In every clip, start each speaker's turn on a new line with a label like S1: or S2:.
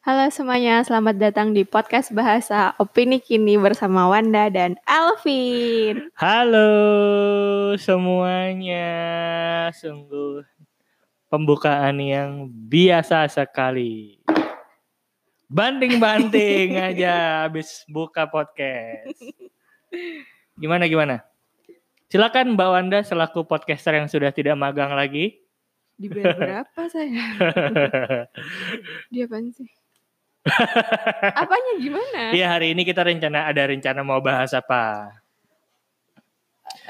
S1: Halo semuanya, selamat datang di podcast Bahasa Opini Kini bersama Wanda dan Alvin.
S2: Halo semuanya, sungguh pembukaan yang biasa sekali. Banting-banting aja habis buka podcast. Gimana gimana? Silakan Mbak Wanda selaku podcaster yang sudah tidak magang lagi.
S1: Di band berapa saya? Dia apaan sih? Apanya gimana?
S2: Iya hari ini kita rencana ada rencana mau bahas apa?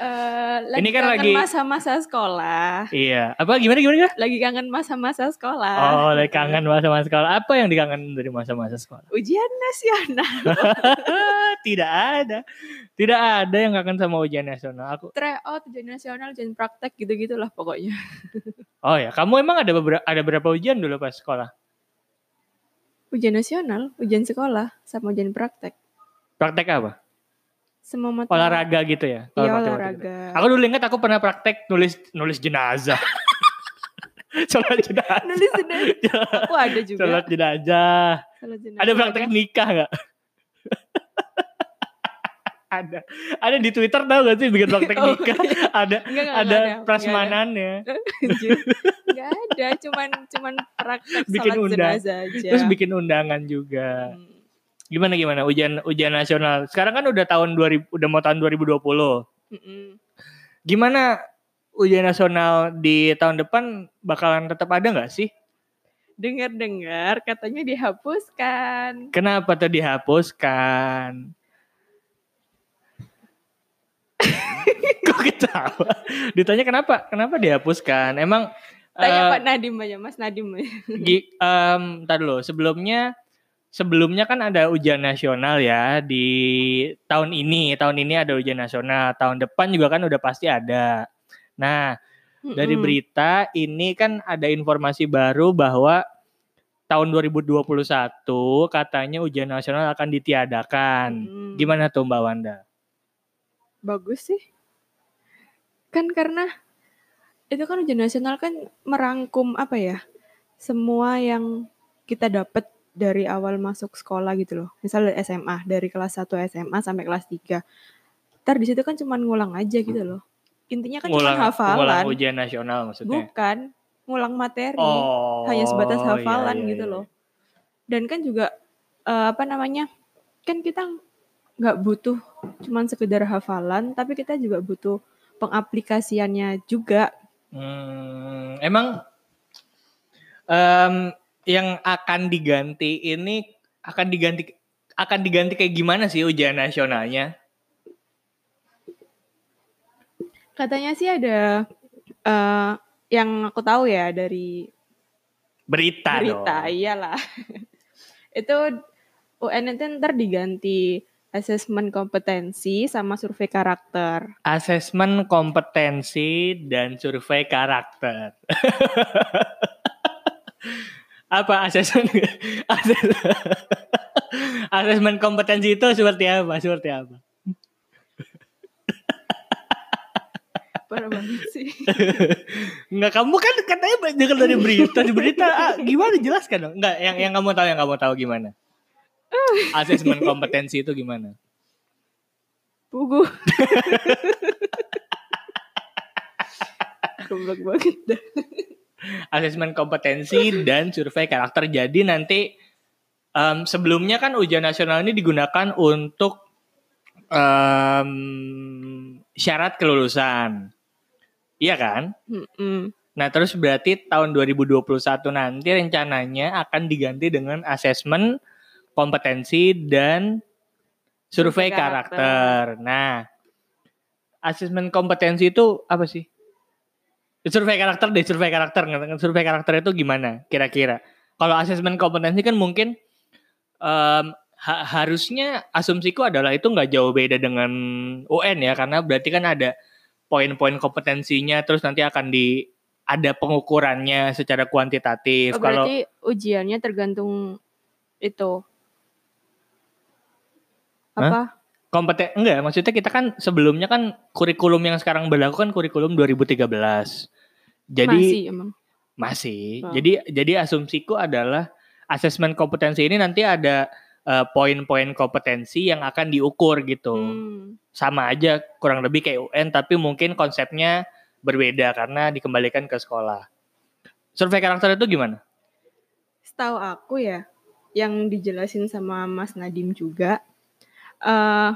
S1: Eh, lagi
S2: Ini kan
S1: kangen
S2: lagi-
S1: masa-masa sekolah.
S2: Iya, apa gimana gimana? gimana?
S1: Lagi kangen masa-masa sekolah.
S2: Oh, lagi kangen masa-masa sekolah. Apa yang dikangen dari masa-masa sekolah?
S1: Ujian nasional.
S2: Tidak ada. Tidak ada yang kangen sama ujian nasional. Aku
S1: Tryout, ujian nasional, ujian praktek gitu-gitulah pokoknya.
S2: Oh ya, kamu emang ada beberapa ada berapa ujian dulu pas sekolah?
S1: Ujian nasional, ujian sekolah, sama ujian praktek.
S2: Praktek apa?
S1: Semua mata.
S2: Olahraga gitu ya? Kalau
S1: Iya,
S2: matematika.
S1: olahraga.
S2: Aku dulu ingat aku pernah praktek nulis nulis jenazah. Sholat jenazah.
S1: Nulis sendiri. Aku ada juga.
S2: Sholat jenazah.
S1: Salat jenazah.
S2: Ada praktek nikah nggak? ada. Ada di Twitter tau gak sih bikin praktek
S1: Oh,
S2: nikah? Ada
S1: Enggak, enggak,
S2: ada
S1: enggak ada.
S2: prasmanannya.
S1: Anjir. Nggak ada, cuman cuman praktek
S2: Bikin
S1: salat
S2: undang.
S1: jenazah aja.
S2: Terus bikin undangan juga.
S1: Hmm.
S2: Gimana gimana ujian ujian nasional. Sekarang kan udah tahun 2000 udah mau tahun 2020.
S1: Mm-mm.
S2: Gimana ujian nasional di tahun depan bakalan tetap ada nggak sih?
S1: Dengar-dengar katanya dihapuskan.
S2: Kenapa tuh dihapuskan? Kok ketawa? Ditanya kenapa? Kenapa dihapuskan? Emang
S1: Tanya
S2: eh,
S1: Pak Nadim aja, Mas Nadim aja.
S2: Gi, em, tar dulu, sebelumnya sebelumnya kan ada ujian nasional ya di tahun ini. Tahun ini ada ujian nasional, tahun depan juga kan udah pasti ada. Nah, dari
S1: Mm-mm.
S2: berita ini kan ada informasi baru bahwa tahun 2021 katanya ujian nasional akan ditiadakan.
S1: Mm-mm.
S2: Gimana tuh Mbak Wanda?
S1: Bagus sih. Kan karena itu kan ujian nasional kan merangkum apa ya? Semua yang kita dapat dari awal masuk sekolah gitu loh. Misal dari SMA, dari kelas 1 SMA sampai kelas 3. Ntar di situ kan cuman ngulang aja gitu loh. Intinya kan cuman hafalan.
S2: ngulang ujian nasional maksudnya.
S1: Bukan ngulang materi
S2: Oh,
S1: hanya sebatas
S2: iya,
S1: hafalan
S2: iya,
S1: gitu
S2: iya.
S1: loh. Dan kan juga eh, apa namanya? Kan kita nggak butuh cuman sekedar hafalan, tapi kita juga butuh pengaplikasiannya juga.
S2: Hmm, emang em, yang akan diganti ini akan diganti akan diganti kayak gimana sih ujian nasionalnya?
S1: Katanya sih ada eh, yang aku tahu ya dari
S2: Berita,
S1: berita, iya.
S2: dong.
S1: iyalah. Itu UN itu ntar diganti asesmen kompetensi sama survei karakter.
S2: Asesmen kompetensi dan survei karakter. apa asesmen ases- asesmen kompetensi itu seperti apa? Seperti apa?
S1: Parah banget sih.
S2: Enggak, kamu kan katanya banyak dari berita, di berita ah, gimana jelaskan dong? Enggak, yang yang kamu tahu yang kamu tahu gimana? Asesmen kompetensi itu gimana?
S1: Pugu. Goblok banget dah.
S2: Asesmen kompetensi dan survei karakter. Jadi nanti em, sebelumnya kan ujian nasional ini digunakan untuk em, syarat kelulusan. Iya kan?
S1: Mm-mm.
S2: Nah, terus berarti tahun 2021 nanti rencananya akan diganti dengan asesmen kompetensi dan survei
S1: Survei
S2: karakter.
S1: karakter.
S2: Nah, asesmen kompetensi itu apa sih? Survei karakter deh, survei karakter. Survei karakter itu gimana kira-kira? Kalau asesmen kompetensi kan mungkin em, ha- harusnya asumsiku adalah itu nggak jauh beda dengan UN ya, karena berarti kan ada poin-poin kompetensinya terus nanti akan di ada pengukurannya secara
S1: Oh,
S2: kuantitatif. Kalau
S1: berarti ujiannya tergantung itu. Apa?
S2: kompeten enggak maksudnya kita kan sebelumnya kan kurikulum yang sekarang berlaku kan kurikulum 2013. Jadi
S1: Masih emang.
S2: masih.
S1: Oh.
S2: Jadi jadi asumsiku adalah asesmen kompetensi ini nanti ada eh, poin-poin kompetensi yang akan diukur gitu.
S1: Hmm.
S2: Sama aja kurang lebih kayak UN tapi mungkin konsepnya berbeda karena dikembalikan ke sekolah. Survei karakter itu gimana?
S1: Setahu aku ya, yang dijelasin sama Mas Nadim juga, eh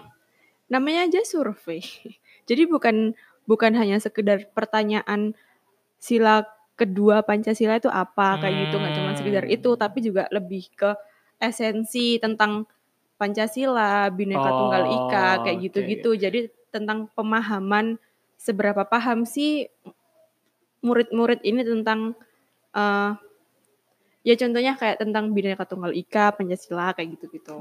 S1: namanya aja survei. Jadi bukan bukan hanya sekedar pertanyaan sila kedua Pancasila itu apa kayak gitu, nggak cuma sekedar
S2: Hmm.
S1: itu, tapi juga lebih ke esensi tentang Pancasila, Bhinneka Tunggal Ika,
S2: Oh,
S1: kayak
S2: oke.
S1: gitu-gitu. Jadi tentang pemahaman seberapa paham sih murid-murid ini tentang eh, ya contohnya kayak tentang Bhinneka Tunggal Ika, Pancasila kayak
S2: Oh,
S1: gitu-gitu.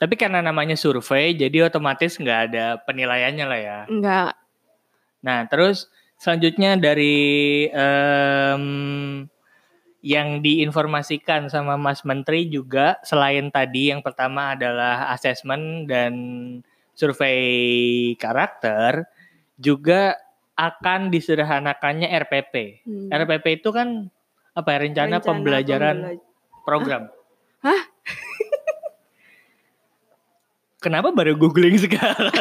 S2: Tapi karena namanya survei jadi otomatis nggak ada penilaiannya lah ya.
S1: Enggak.
S2: Nah, terus selanjutnya dari em, yang diinformasikan sama Mas Menteri juga selain tadi yang pertama adalah asesmen dan survei karakter juga akan disederhanakannya RPP.
S1: hmm.
S2: RPP itu kan apa ya, rencana, pembelajaran
S1: pembela-
S2: program.
S1: Hah?
S2: Kenapa baru googling sekarang?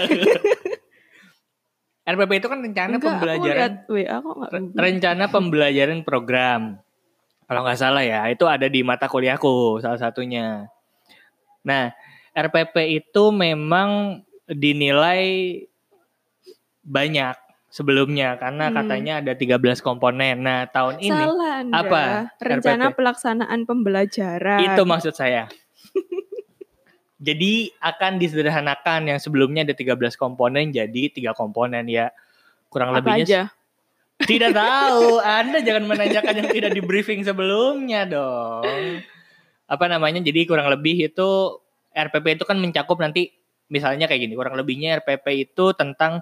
S2: RPP itu kan rencana
S1: Enggak, Aku
S2: pembelajaran
S1: lihat WA kok enggak.
S2: Re-
S1: Google.
S2: rencana pembelajaran program. Kalau nggak salah ya, itu ada di mata kuliahku salah satunya. Nah, RPP itu memang dinilai banyak sebelumnya karena
S1: Hmm.
S2: katanya ada 13 komponen. Nah, tahun ini
S1: Salah Andra.
S2: apa?
S1: Rencana
S2: RPP.
S1: pelaksanaan pembelajaran.
S2: itu maksud saya. jadi akan disederhanakan yang sebelumnya ada 13 komponen jadi tiga komponen ya. Kurang
S1: apa
S2: lebihnya
S1: aja?
S2: Tidak tahu. Anda jangan menanyakan yang tidak di briefing sebelumnya dong. Apa namanya? Jadi kurang lebih itu RPP itu kan mencakup nanti misalnya kayak gini. Kurang lebihnya RPP itu tentang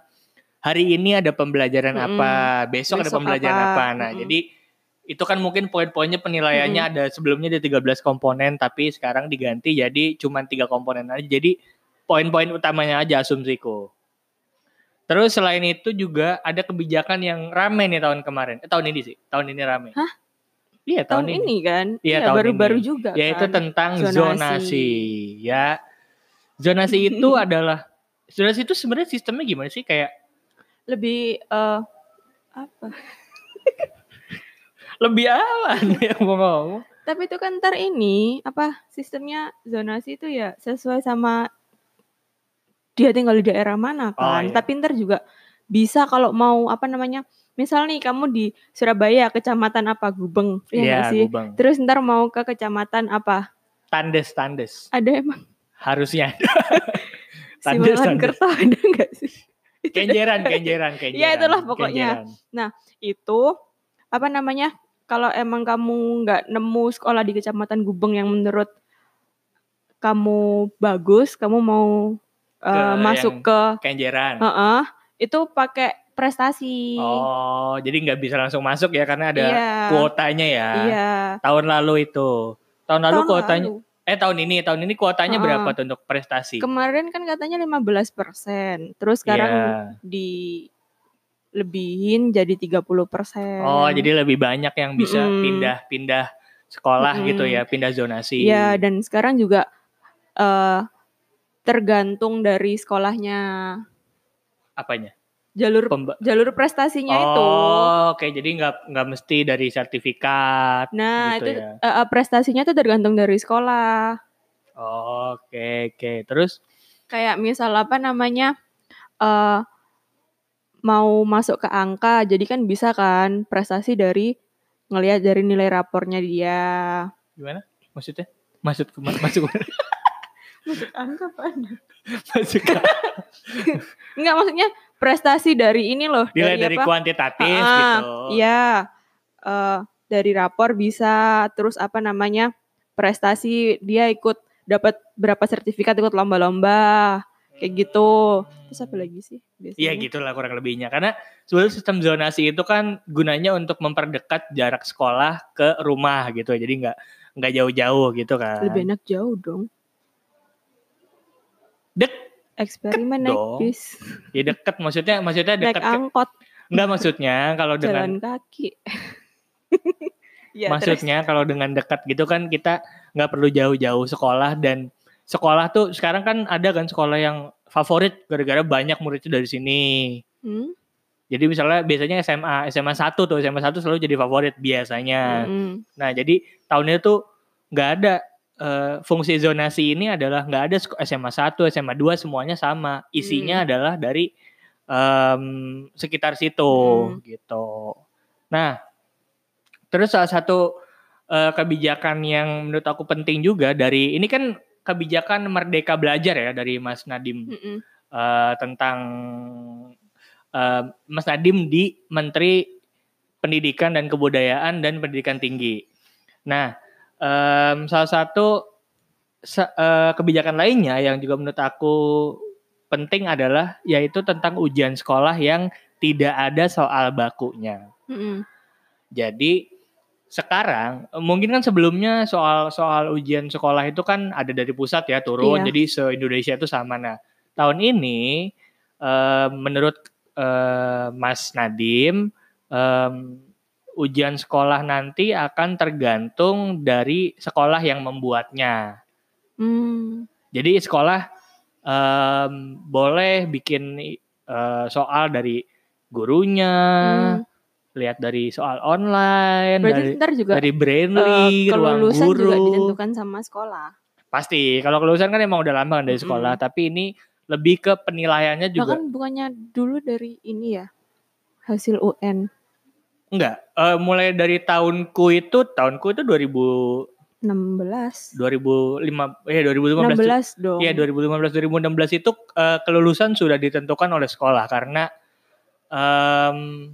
S2: hari ini ada pembelajaran
S1: Mm-mm.
S2: apa, besok, ada
S1: Besok
S2: pembelajaran
S1: apa.
S2: apa. Nah,
S1: Mm-mm.
S2: jadi itu kan mungkin poin-poinnya penilaiannya ada sebelumnya ada 13 komponen tapi sekarang diganti jadi cuman tiga komponen aja. Jadi poin-poin utamanya aja asumsiku. Terus selain itu juga ada kebijakan yang rame nih tahun kemarin. Eh, tahun ini sih, tahun ini rame.
S1: Hah?
S2: Iya,
S1: Tahun
S2: tahun, ini.
S1: ini kan?
S2: Iya, tahun
S1: baru-baru
S2: ini.
S1: juga
S2: Yaitu
S1: kan.
S2: tentang
S1: Zonasi.
S2: zonasi. ya. Zonasi itu adalah zonasi itu sebenarnya sistemnya gimana sih? Kayak
S1: Lebih eh, apa?
S2: lebih aman yang mau ngomong.
S1: Tapi itu kan ntar ini apa sistemnya zonasi itu ya sesuai sama dia tinggal di daerah mana kan.
S2: iya.
S1: Tapi ntar juga bisa kalau mau apa namanya, misal nih kamu di Surabaya kecamatan apa Gubeng, ya nggak
S2: Iya,
S1: sih.
S2: Gubeng.
S1: Terus ntar mau ke kecamatan apa?
S2: Tandes, tandes.
S1: Ada emang
S2: Harusnya Tandes,
S1: Simulan
S2: tandes.
S1: Kerto ada nggak sih?
S2: kenjeran, kenjeran, kenjeran.
S1: Iya, itulah pokoknya.
S2: kenjeran.
S1: itu apa namanya kalau emang kamu nggak nemu sekolah di kecamatan Gubeng yang menurut kamu bagus kamu mau eh,
S2: Ke
S1: masuk
S2: yang-
S1: ke
S2: Kenjeran.
S1: Heeh, itu pakai prestasi
S2: Oh, jadi nggak bisa langsung masuk ya karena ada
S1: iya
S2: kuotanya ya.
S1: iya
S2: Tahun lalu itu. Tahun lalu
S1: Tahun
S2: kuotanya
S1: lalu.
S2: eh tahun ini, tahun ini kuotanya
S1: Heeh.
S2: berapa tuh untuk prestasi?
S1: Ah. kemarin kan katanya 15% terus
S2: Iya.
S1: sekarang di lebihin jadi 30%
S2: Oh, jadi lebih banyak yang bisa
S1: Mm-mm.
S2: pindah-pindah sekolah
S1: Mm-mm.
S2: gitu ya, pindah zonasi.
S1: Iya, dan sekarang juga eh tergantung dari sekolahnya,
S2: Apanya?
S1: jalur
S2: Pemba-
S1: jalur prestasinya itu.
S2: Oh, oke. Jadi nggak nggak mesti dari sertifikat.
S1: Nah,
S2: gitu
S1: itu
S2: ya.
S1: eh, eh, prestasinya itu tergantung dari sekolah.
S2: Oke, oke. Terus
S1: Kayak misal apa namanya? eh mau masuk ke angka, jadi kan bisa kan prestasi dari ngelihat dari nilai rapornya dia.
S2: gimana? Maksudnya? Masuk ke masuk ke-
S1: Masuk angka apa?
S2: masuk ke
S1: Enggak, maksudnya prestasi dari ini loh,
S2: nilai dari
S1: apa?
S2: kuantitatif
S1: Ah,
S2: gitu.
S1: Iya, eh, dari rapor bisa terus apa namanya prestasi dia ikut dapat berapa sertifikat ikut lomba-lomba kayak gitu. Terus apa lagi sih biasanya?
S2: Hmm. Iya gitulah kurang lebihnya karena sebenarnya sistem zonasi itu kan gunanya untuk memperdekat jarak sekolah ke rumah gitu jadi nggak nggak jauh-jauh gitu kan
S1: Lebih enak jauh dong.
S2: Dek.
S1: Eksperimen naik
S2: Dong.
S1: bis,
S2: ya deket maksudnya maksudnya
S1: naik
S2: deket
S1: angkot,
S2: nggak maksudnya kalau
S1: jalan
S2: dengan
S1: kaki.
S2: Iya,
S1: Ya, terus.
S2: Maksudnya kalau dengan dekat gitu kan kita nggak perlu jauh-jauh sekolah dan sekolah tuh sekarang kan ada kan sekolah yang favorit gara-gara banyak muridnya dari sini.
S1: Hmm?
S2: Jadi misalnya biasanya SMA, SMA 1 tuh, SMA 1 selalu jadi favorit biasanya.
S1: Mm-mm.
S2: Nah, jadi tahunnya tuh nggak ada eh, fungsi zonasi ini adalah nggak ada sek- SMA 1, SMA 2 semuanya sama. Isinya
S1: Hmm.
S2: adalah dari em, sekitar situ
S1: Hmm.
S2: gitu. Nah, terus salah satu eh, kebijakan yang menurut aku penting juga dari ini kan kebijakan merdeka belajar ya dari Mas Nadim
S1: Mm-mm.
S2: eh, tentang eh, Mas Nadiem di Menteri Pendidikan dan Kebudayaan dan Pendidikan Tinggi. Nah, em, salah satu se- eh, kebijakan lainnya yang juga menurut aku penting adalah yaitu tentang ujian sekolah yang tidak ada soal bakunya.
S1: Mm-mm.
S2: Jadi sekarang eh, mungkin kan sebelumnya soal soal ujian sekolah itu kan ada dari pusat ya turun.
S1: Iya.
S2: Jadi se Indonesia itu sama. Nah tahun ini eh, menurut eh, Mas Nadim em, ujian sekolah nanti akan tergantung dari sekolah yang membuatnya.
S1: Mm.
S2: Jadi sekolah em, boleh bikin eh, soal dari gurunya,
S1: Hmm.
S2: lihat dari soal online,
S1: Berarti
S2: dari
S1: ntar juga
S2: dari
S1: eh,
S2: Brainly, ruang
S1: kelulusan
S2: guru.
S1: juga ditentukan sama sekolah.
S2: Pasti. Kalau kelulusan kan emang udah lama kan dari
S1: Mm-mm. Nah, kan
S2: sekolah, tapi ini lebih ke penilaiannya juga
S1: Bahkan bukannya dulu dari ini ya hasil UN
S2: enggak. Eh, mulai dari tahunku itu, tahunku itu 2000
S1: 16
S2: 2005 ya 2015
S1: 16 dong.
S2: Iya 2015 2016 itu eh, kelulusan sudah ditentukan oleh sekolah karena em,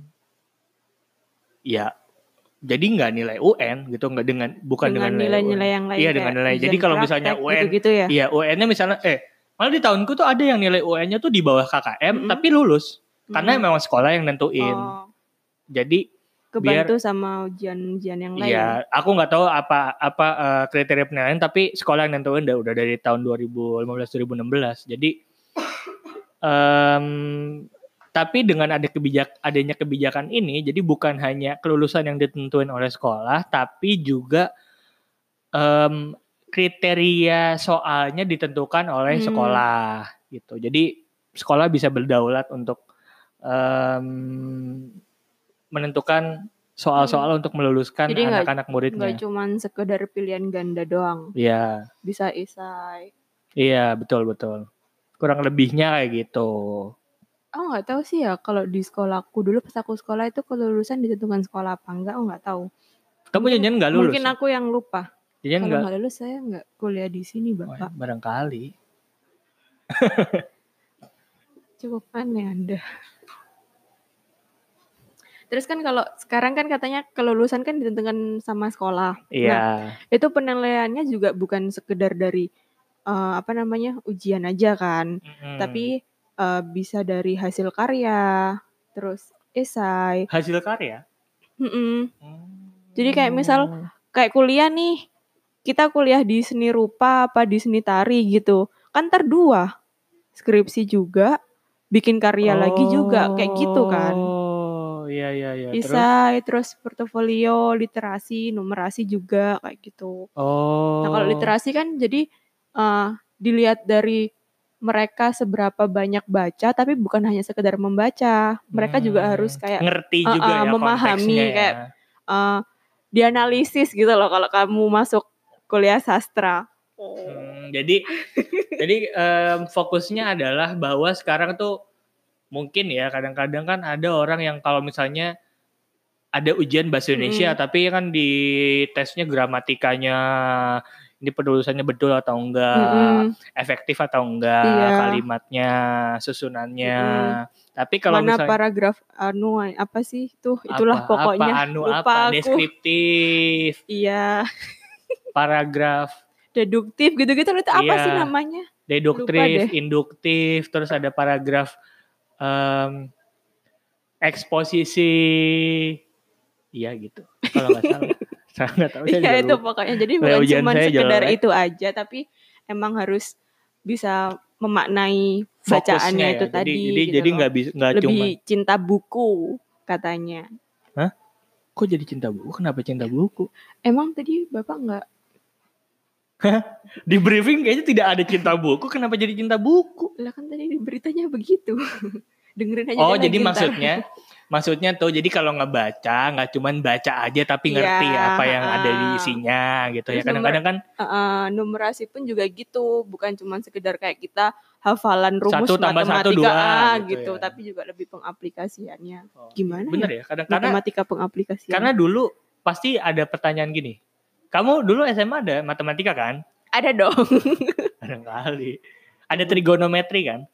S2: ya jadi nggak nilai UN gitu nggak dengan bukan
S1: dengan
S2: dengan,
S1: nilai-nilai yang lain.
S2: Iya,
S1: kayak
S2: dengan nilai. Jadi
S1: ujian
S2: kalau misalnya
S1: praktek
S2: UN
S1: gitu-gitu ya.
S2: Iya UN-nya misalnya eh malah di tahunku tuh ada yang nilai UN-nya tuh di bawah KKM
S1: Mm-mm.
S2: tapi lulus karena
S1: Mm.
S2: memang sekolah yang nentuin.
S1: Oh,
S2: Jadi
S1: kebantu sama ujian-ujian yang lain.
S2: Iya, aku nggak tahu apa apa eh, kriteria penilaian tapi sekolah yang nentuin udah, udah dari tahun 2015 2016. Jadi em, tapi dengan ada kebijak adanya kebijakan ini jadi bukan hanya kelulusan yang ditentuin oleh sekolah tapi juga em, kriteria soalnya ditentukan oleh
S1: Hmm.
S2: sekolah gitu. Jadi sekolah bisa berdaulat untuk em, menentukan
S1: Hmm.
S2: soal-soal untuk meluluskan
S1: Jadi nggak-
S2: Kan anak-anak
S1: Nggak
S2: muridnya.
S1: cuman sekedar pilihan ganda doang.
S2: Iya,
S1: Bisa isai.
S2: iya betul betul. Kurang lebihnya kayak gitu.
S1: Aku nggak tahu sih ya kalau di sekolahku dulu pas aku sekolah itu kelulusan ditentukan sekolah apa enggak, aku nggak tahu.
S2: Kamu
S1: Mungkin-
S2: janjian nggak lulus?
S1: Mungkin aku yang lupa.
S2: Janjian
S1: Kalau
S2: nggak?
S1: nggak lulus saya nggak Nah, kuliah di sini
S2: Wah,
S1: bapak.
S2: barangkali.
S1: Cukup aneh anda. Terus kan kalau sekarang kan katanya kelulusan kan ditentukan sama sekolah.
S2: Iya.
S1: itu penilaiannya juga bukan sekedar dari eh, apa namanya ujian aja kan
S2: Mm-mm.
S1: tapi eh, bisa dari hasil karya terus esai
S2: hasil karya.
S1: Mm-mm.
S2: Hmm.
S1: Jadi kayak misal- kayak kuliah nih kita kuliah di seni rupa apa di seni tari gitu kan ntar dua skripsi juga bikin karya lagi juga kayak gitu kan
S2: Oh, iya iya iya. Terus?
S1: esai terus portofolio literasi numerasi juga kayak gitu
S2: Oh.
S1: Nah, kalau literasi kan jadi eh, dilihat dari mereka seberapa banyak baca, tapi bukan hanya sekedar membaca. Mereka juga
S2: Hmm.
S1: harus kayak
S2: ngerti
S1: eh,
S2: juga
S1: eh,
S2: ya
S1: memahami
S2: konteksnya ya.
S1: kayak- eh, dianalisis gitu loh kalau kamu masuk kuliah sastra.
S2: Hmm, jadi jadi em, fokusnya adalah bahwa sekarang tuh mungkin ya kadang-kadang kan ada orang yang kalau misalnya ada ujian
S1: Hmm.
S2: bahasa Indonesia tapi kan di tesnya gramatikanya ini penulisannya betul atau enggak,
S1: Mm-mm.
S2: efektif atau enggak,
S1: Hmm. Iya. Hmm.
S2: kalimatnya, susunannya. Tapi kalau
S1: Mana
S2: misalnya
S1: paragraf anu apa sih tuh
S2: apa-
S1: itulah pokoknya
S2: apa anu
S1: lupa
S2: apa
S1: aku.
S2: deskriptif,
S1: Iya,
S2: paragraf
S1: deduktif gitu-gitu itu apa
S2: Iya.
S1: sih namanya?
S2: deduktif,
S1: deh.
S2: induktif, terus ada paragraf em, eksposisi, iya gitu. Kalau nggak salah, saya nggak tahu. Oh, saya juga
S1: Iya itu
S2: lupa.
S1: pokoknya jadi
S2: Kayak
S1: bukan
S2: ujian
S1: cuma
S2: saya ya.
S1: sekedar
S2: jelek.
S1: itu aja tapi emang harus bisa memaknai
S2: Fokusnya
S1: bacaannya
S2: ya,
S1: itu
S2: jadi,
S1: tadi
S2: Jadi
S1: gitu
S2: jadi
S1: loh.
S2: nggak bisa nggak
S1: lebih
S2: cuma
S1: cinta buku katanya.
S2: Hah? Kok jadi cinta buku? Kenapa cinta buku?
S1: Emang tadi Bapak nggak
S2: Di briefing kayaknya tidak ada cinta buku. Kenapa jadi cinta buku?
S1: lah kan tadi di beritanya begitu. Dengerin aja.
S2: Oh,
S1: dia
S2: jadi
S1: lagi ntar.
S2: maksudnya maksudnya tuh jadi kalau nggak baca, nggak cuman baca aja tapi ngerti
S1: Iya,
S2: apa yang ada di
S1: ha-ha.
S2: isinya gitu ya.
S1: Terus
S2: Kadang-kadang kan
S1: Uh, numerasi pun juga gitu, bukan cuma sekedar kayak kita hafalan rumus
S2: Satu tambah
S1: matematika
S2: satu, dua,
S1: ah,
S2: gitu
S1: gitu,
S2: ya.
S1: tapi juga lebih pengaplikasiannya.
S2: Oh,
S1: Gimana
S2: bener
S1: ya?
S2: ya, kadang karena
S1: Matematika pengaplikasian.
S2: karena dulu pasti ada pertanyaan gini. Kamu dulu SMA ada matematika kan?
S1: ada dong.
S2: Barangkali. Ada trigonometri kan?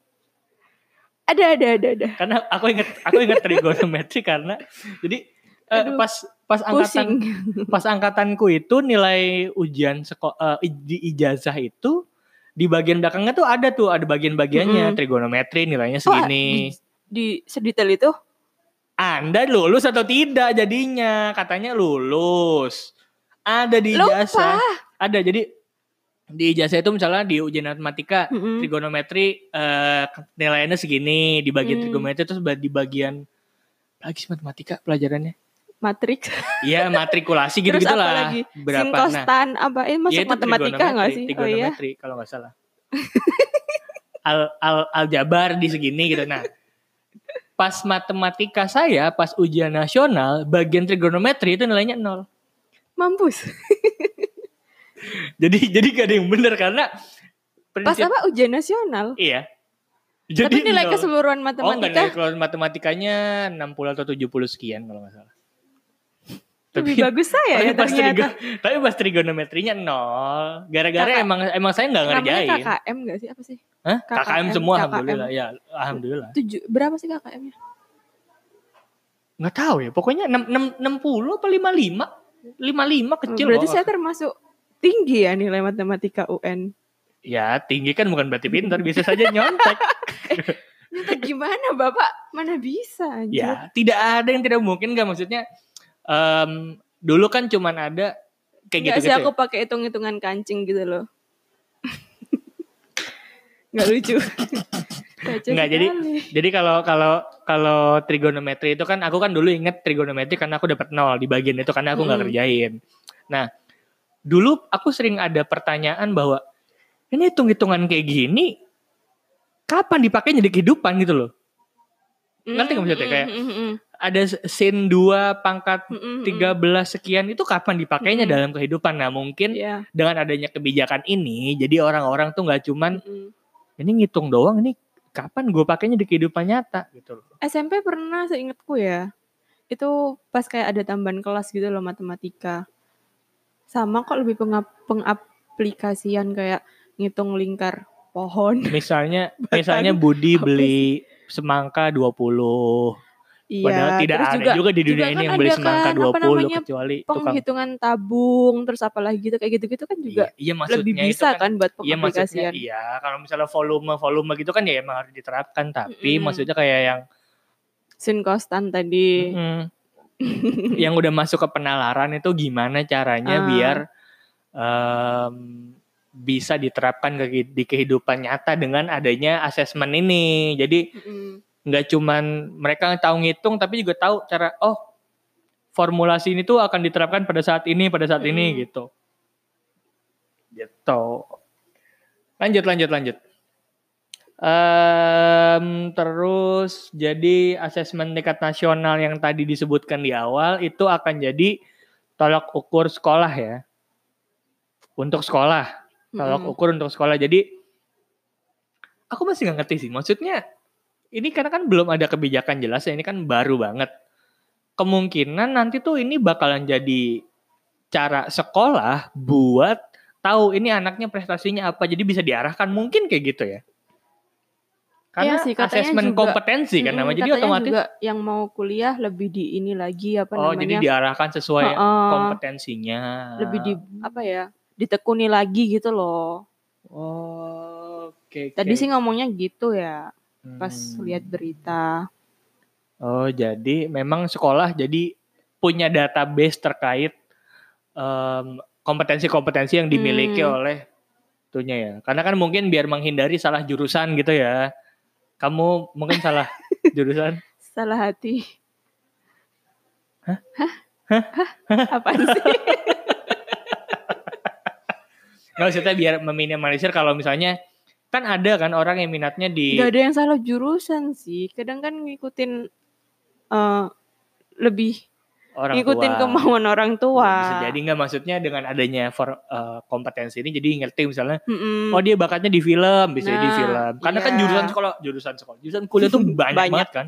S1: ada ada ada ada.
S2: Karena aku inget aku inget trigonometri karena jadi eh,
S1: Aduh,
S2: pas pas angkatan
S1: Pusing.
S2: pas angkatanku itu nilai ujian seko, eh, ij- di ijazah itu di bagian belakangnya tuh ada tuh ada bagian-bagiannya
S1: Mm-mm.
S2: trigonometri nilainya
S1: Oh, di,
S2: segini.
S1: di sedetail itu
S2: Anda lulus atau tidak jadinya? Katanya lulus. Ada di ijazah.
S1: lupa.
S2: Ada jadi di ijazah itu misalnya di ujian matematika
S1: Mm-mm.
S2: trigonometri eh, nilainya segini di
S1: Hmm.
S2: bagian trigonometri terus ba- di bagian lagi sih matematika pelajarannya
S1: Matriks
S2: ya matrikulasi gitu
S1: Terus apa
S2: gitulah
S1: lagi?
S2: berapa nah
S1: Sinkostan apa ini masuk
S2: ya itu
S1: matematika
S2: trigonometri,
S1: nggak sih? Oh iya.
S2: trigonometri kalau nggak salah al al aljabar di segini gitu nah pas matematika saya pas ujian nasional bagian trigonometri itu nilainya nol
S1: Mampus.
S2: jadi jadi gak ada yang bener karena
S1: Pas
S2: prinsip-
S1: apa ujian nasional?
S2: iya
S1: Tapi nilai
S2: nol.
S1: keseluruhan
S2: Oh enggak nilai
S1: matematika
S2: kalau matematikanya 60 atau 70 sekian kalau nggak salah.
S1: lebih bagus saya ya
S2: pas trigo,
S1: ternyata.
S2: tapi pas trigonometrinya nol. Gara-gara
S1: Kakak-
S2: emang emang saya nggak
S1: Namanya
S2: ngerjain.
S1: KKM nggak sih apa sih?
S2: Hah?
S1: KKM,
S2: KKM, semua
S1: KKM.
S2: alhamdulillah ya, alhamdulillah.
S1: Tujuh berapa sih KKM-nya?
S2: Nggak tahu ya, pokoknya 6, 60 apa 55? 55 kecil
S1: Berarti
S2: kok.
S1: saya termasuk tinggi ya nilai matematika UN.
S2: Ya, tinggi kan bukan berarti pintar, biasa saja nyontek.
S1: Nyata gimana Bapak? Mana bisa anjir?
S2: ya, tidak ada yang tidak mungkin nggak maksudnya em, dulu kan cuman ada kayak
S1: Nggak
S2: gitu-gitu.
S1: sih
S2: ya.
S1: aku pakai hitung-hitungan kancing gitu loh. Nggak lucu. Receh
S2: Nggak, jadi-
S1: sekali.
S2: Jadi kalau kalau kalau trigonometri itu kan aku kan dulu inget trigonometri karena aku dapat nol di bagian itu karena aku nggak
S1: Mm.
S2: kerjain. Nah, dulu aku sering ada pertanyaan bahwa ini hitung-hitungan kayak gini kapan dipakainya di kehidupan gitu loh. ngerti nggak maksudnya? Kayak-
S1: Mm, mm, mm,
S2: Ada sin 2 pangkat
S1: mm, mm, mm.
S2: 13 sekian itu kapan dipakainya
S1: Mm.
S2: dalam kehidupan. Nah, mungkin
S1: Iya.
S2: dengan adanya kebijakan ini jadi orang-orang tuh nggak cuman
S1: mm.
S2: ini ngitung doang ini kapan gue pakainya di kehidupan nyata gitu loh.
S1: SMP pernah seingetku ya. Itu pas kayak ada tambahan kelas gitu loh matematika. Sama kok lebih pengap- pengaplikasian kayak ngitung lingkar pohon.
S2: Misalnya misalnya Budi
S1: apa
S2: beli semangka 20. Padahal
S1: Iya,
S2: tidak
S1: terus
S2: ada juga, di dunia
S1: juga
S2: ini
S1: kan
S2: yang beli
S1: ada
S2: semangka
S1: kan, apa
S2: 20
S1: namanya,
S2: kecuali tukang.
S1: penghitungan tabung, terus apalagi gitu kayak gitu-gitu kan juga
S2: Iya, iya, maksudnya
S1: lebih
S2: itu
S1: bisa
S2: kan.
S1: kan, buat
S2: Iya maksudnya
S1: pengaplikasian.
S2: iya kalau misalnya volume volume gitu kan ya emang harus diterapkan tapi
S1: Mm-mm.
S2: maksudnya kayak yang
S1: Sin kostan tadi.
S2: mm, yang udah masuk ke penalaran itu gimana caranya
S1: Ah.
S2: biar em, bisa diterapkan ke, di kehidupan nyata dengan adanya asesmen ini. Jadi
S1: Mm-mm.
S2: nggak cuman mereka tahu ngitung tapi juga tahu cara oh formulasi ini tuh akan diterapkan pada saat ini pada saat ini
S1: Mm.
S2: gitu gitu lanjut lanjut lanjut Em, terus jadi asesmen tingkat nasional yang tadi disebutkan di awal itu akan jadi tolak ukur sekolah ya untuk sekolah tolak
S1: Mm-mm.
S2: ukur untuk sekolah. Jadi aku masih nggak ngerti sih. Maksudnya ini karena kan belum ada kebijakan jelas ya. Ini kan baru banget. Kemungkinan nanti tuh ini bakalan jadi cara sekolah buat tahu ini anaknya prestasinya apa. Jadi bisa diarahkan mungkin kayak gitu ya.
S1: Iya
S2: Karena
S1: sih, katanya
S2: asesmen
S1: juga-
S2: kompetensi kan
S1: Mm-mm,
S2: namanya. Jadi
S1: katanya
S2: otomatis
S1: juga yang mau kuliah lebih di ini lagi apa
S2: oh
S1: namanya?
S2: jadi ya, diarahkan sesuai
S1: Heeh.
S2: kompetensinya.
S1: lebih di apa ya? Ditekuni lagi gitu loh.
S2: Oh, Oke.
S1: Tadi
S2: oke.
S1: sih ngomongnya gitu ya pas
S2: Hmm.
S1: lihat berita.
S2: Oh, jadi memang sekolah jadi punya database terkait em, kompetensi-kompetensi yang dimiliki
S1: Hmm.
S2: oleh itunya ya. Karena kan mungkin biar menghindari salah jurusan gitu ya. Kamu mungkin salah jurusan.
S1: Salah hati. Apa sih?
S2: Nggak maksudnya biar meminimalisir kalau misalnya kan ada kan orang yang minatnya di
S1: Gak ada yang salah jurusan sih. Kadang kan ngikutin eh, lebih
S2: orang
S1: ngikutin
S2: tua. Iya,
S1: kemauan orang tua.
S2: Bisa jadi nggak maksudnya dengan adanya for, eh, kompetensi ini jadi ngerti misalnya
S1: Mm-mm.
S2: oh dia bakatnya di film bisa di
S1: Hmm. Nah,
S2: film karena kan
S1: iya.
S2: jurusan sekolah jurusan sekolah jurusan kuliah tuh banyak,
S1: Banyak.
S2: banget kan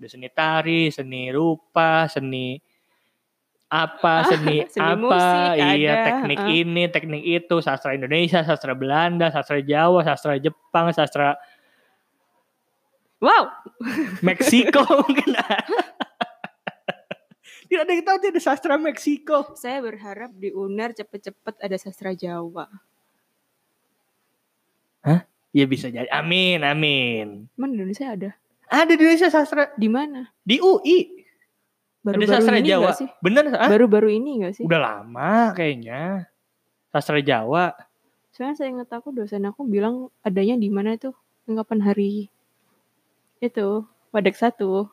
S2: ada seni tari seni rupa seni apa seni,
S1: Ah, seni
S2: apa
S1: musik
S2: iya
S1: ada, ah.
S2: teknik
S1: heeh.
S2: ini teknik itu sastra Indonesia sastra Belanda sastra Jawa sastra Jepang sastra
S1: Wow,
S2: Meksiko mungkin tidak ada yang tahu tidak ada sastra Meksiko
S1: saya berharap di UNER cepet-cepet ada sastra Jawa.
S2: ya bisa jadi amin amin
S1: Emang di Indonesia ada?
S2: ada di Indonesia sastra
S1: Di mana?
S2: di UI ada sastra
S1: ini
S2: Jawa
S1: nggak sih?
S2: bener ah?
S1: Baru-baru ini gak sih?
S2: Udah lama kayaknya. Sastra Jawa.
S1: Soalnya saya ingat aku dosen aku bilang adanya di mana itu ungkapan hari itu Wadak satu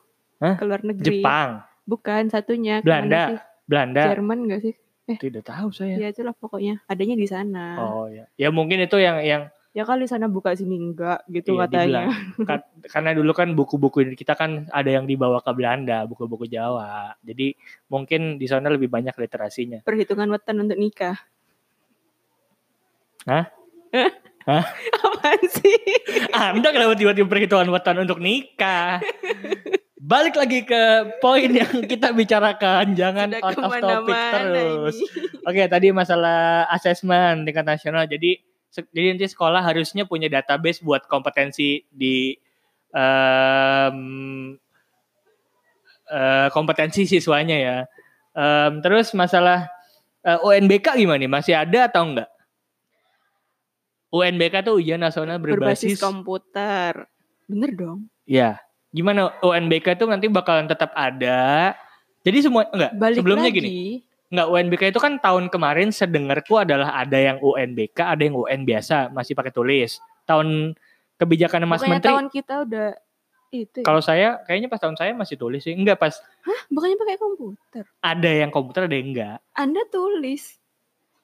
S2: Hah?
S1: keluar negeri
S2: Jepang.
S1: bukan satunya kemana
S2: Belanda.
S1: sih?
S2: Belanda.
S1: Jerman gak sih
S2: Tidak tahu saya.
S1: ya itulah pokoknya adanya di sana
S2: Oh ya. Ya mungkin itu yang yang
S1: ya kalau di sana buka sini enggak gitu
S2: iya, di
S1: katanya
S2: Belanda. Ka- Karena dulu kan buku-buku kita kan ada yang dibawa ke Belanda, buku-buku Jawa. Jadi mungkin di sana lebih banyak literasinya.
S1: perhitungan weton untuk nikah
S2: Hah? Hah?
S1: apaan sih
S2: Anda Ah, kenapa tiba-tiba perhitungan weton untuk nikah? Balik lagi ke poin yang kita bicarakan, jangan
S1: Sudah
S2: out of topic
S1: kemana-mana
S2: terus.
S1: ini.
S2: Oke, tadi masalah asesmen tingkat nasional. Jadi se- jadi nanti sekolah harusnya punya database buat kompetensi di em, eh, kompetensi siswanya ya. Em, terus masalah eh, UNBK gimana nih? Masih ada atau enggak? UNBK tuh ujian nasional
S1: berbasis
S2: berbasis,
S1: komputer bener dong
S2: ya. Gimana UNBK tuh nanti bakalan tetap ada? Jadi semua enggak
S1: balik
S2: sebelumnya
S1: lagi
S2: gini. Nggak UNBK itu kan tahun kemarin sedengarku adalah ada yang UNBK, ada yang UN biasa, masih pakai tulis. Tahun kebijakan Mas
S1: Bukannya
S2: Menteri,
S1: tahun kita udah itu ya?
S2: kalau saya kayaknya pas tahun saya masih tulis sih. Enggak pas
S1: bukannya pakai komputer
S2: ada yang komputer ada yang enggak.
S1: Anda tulis.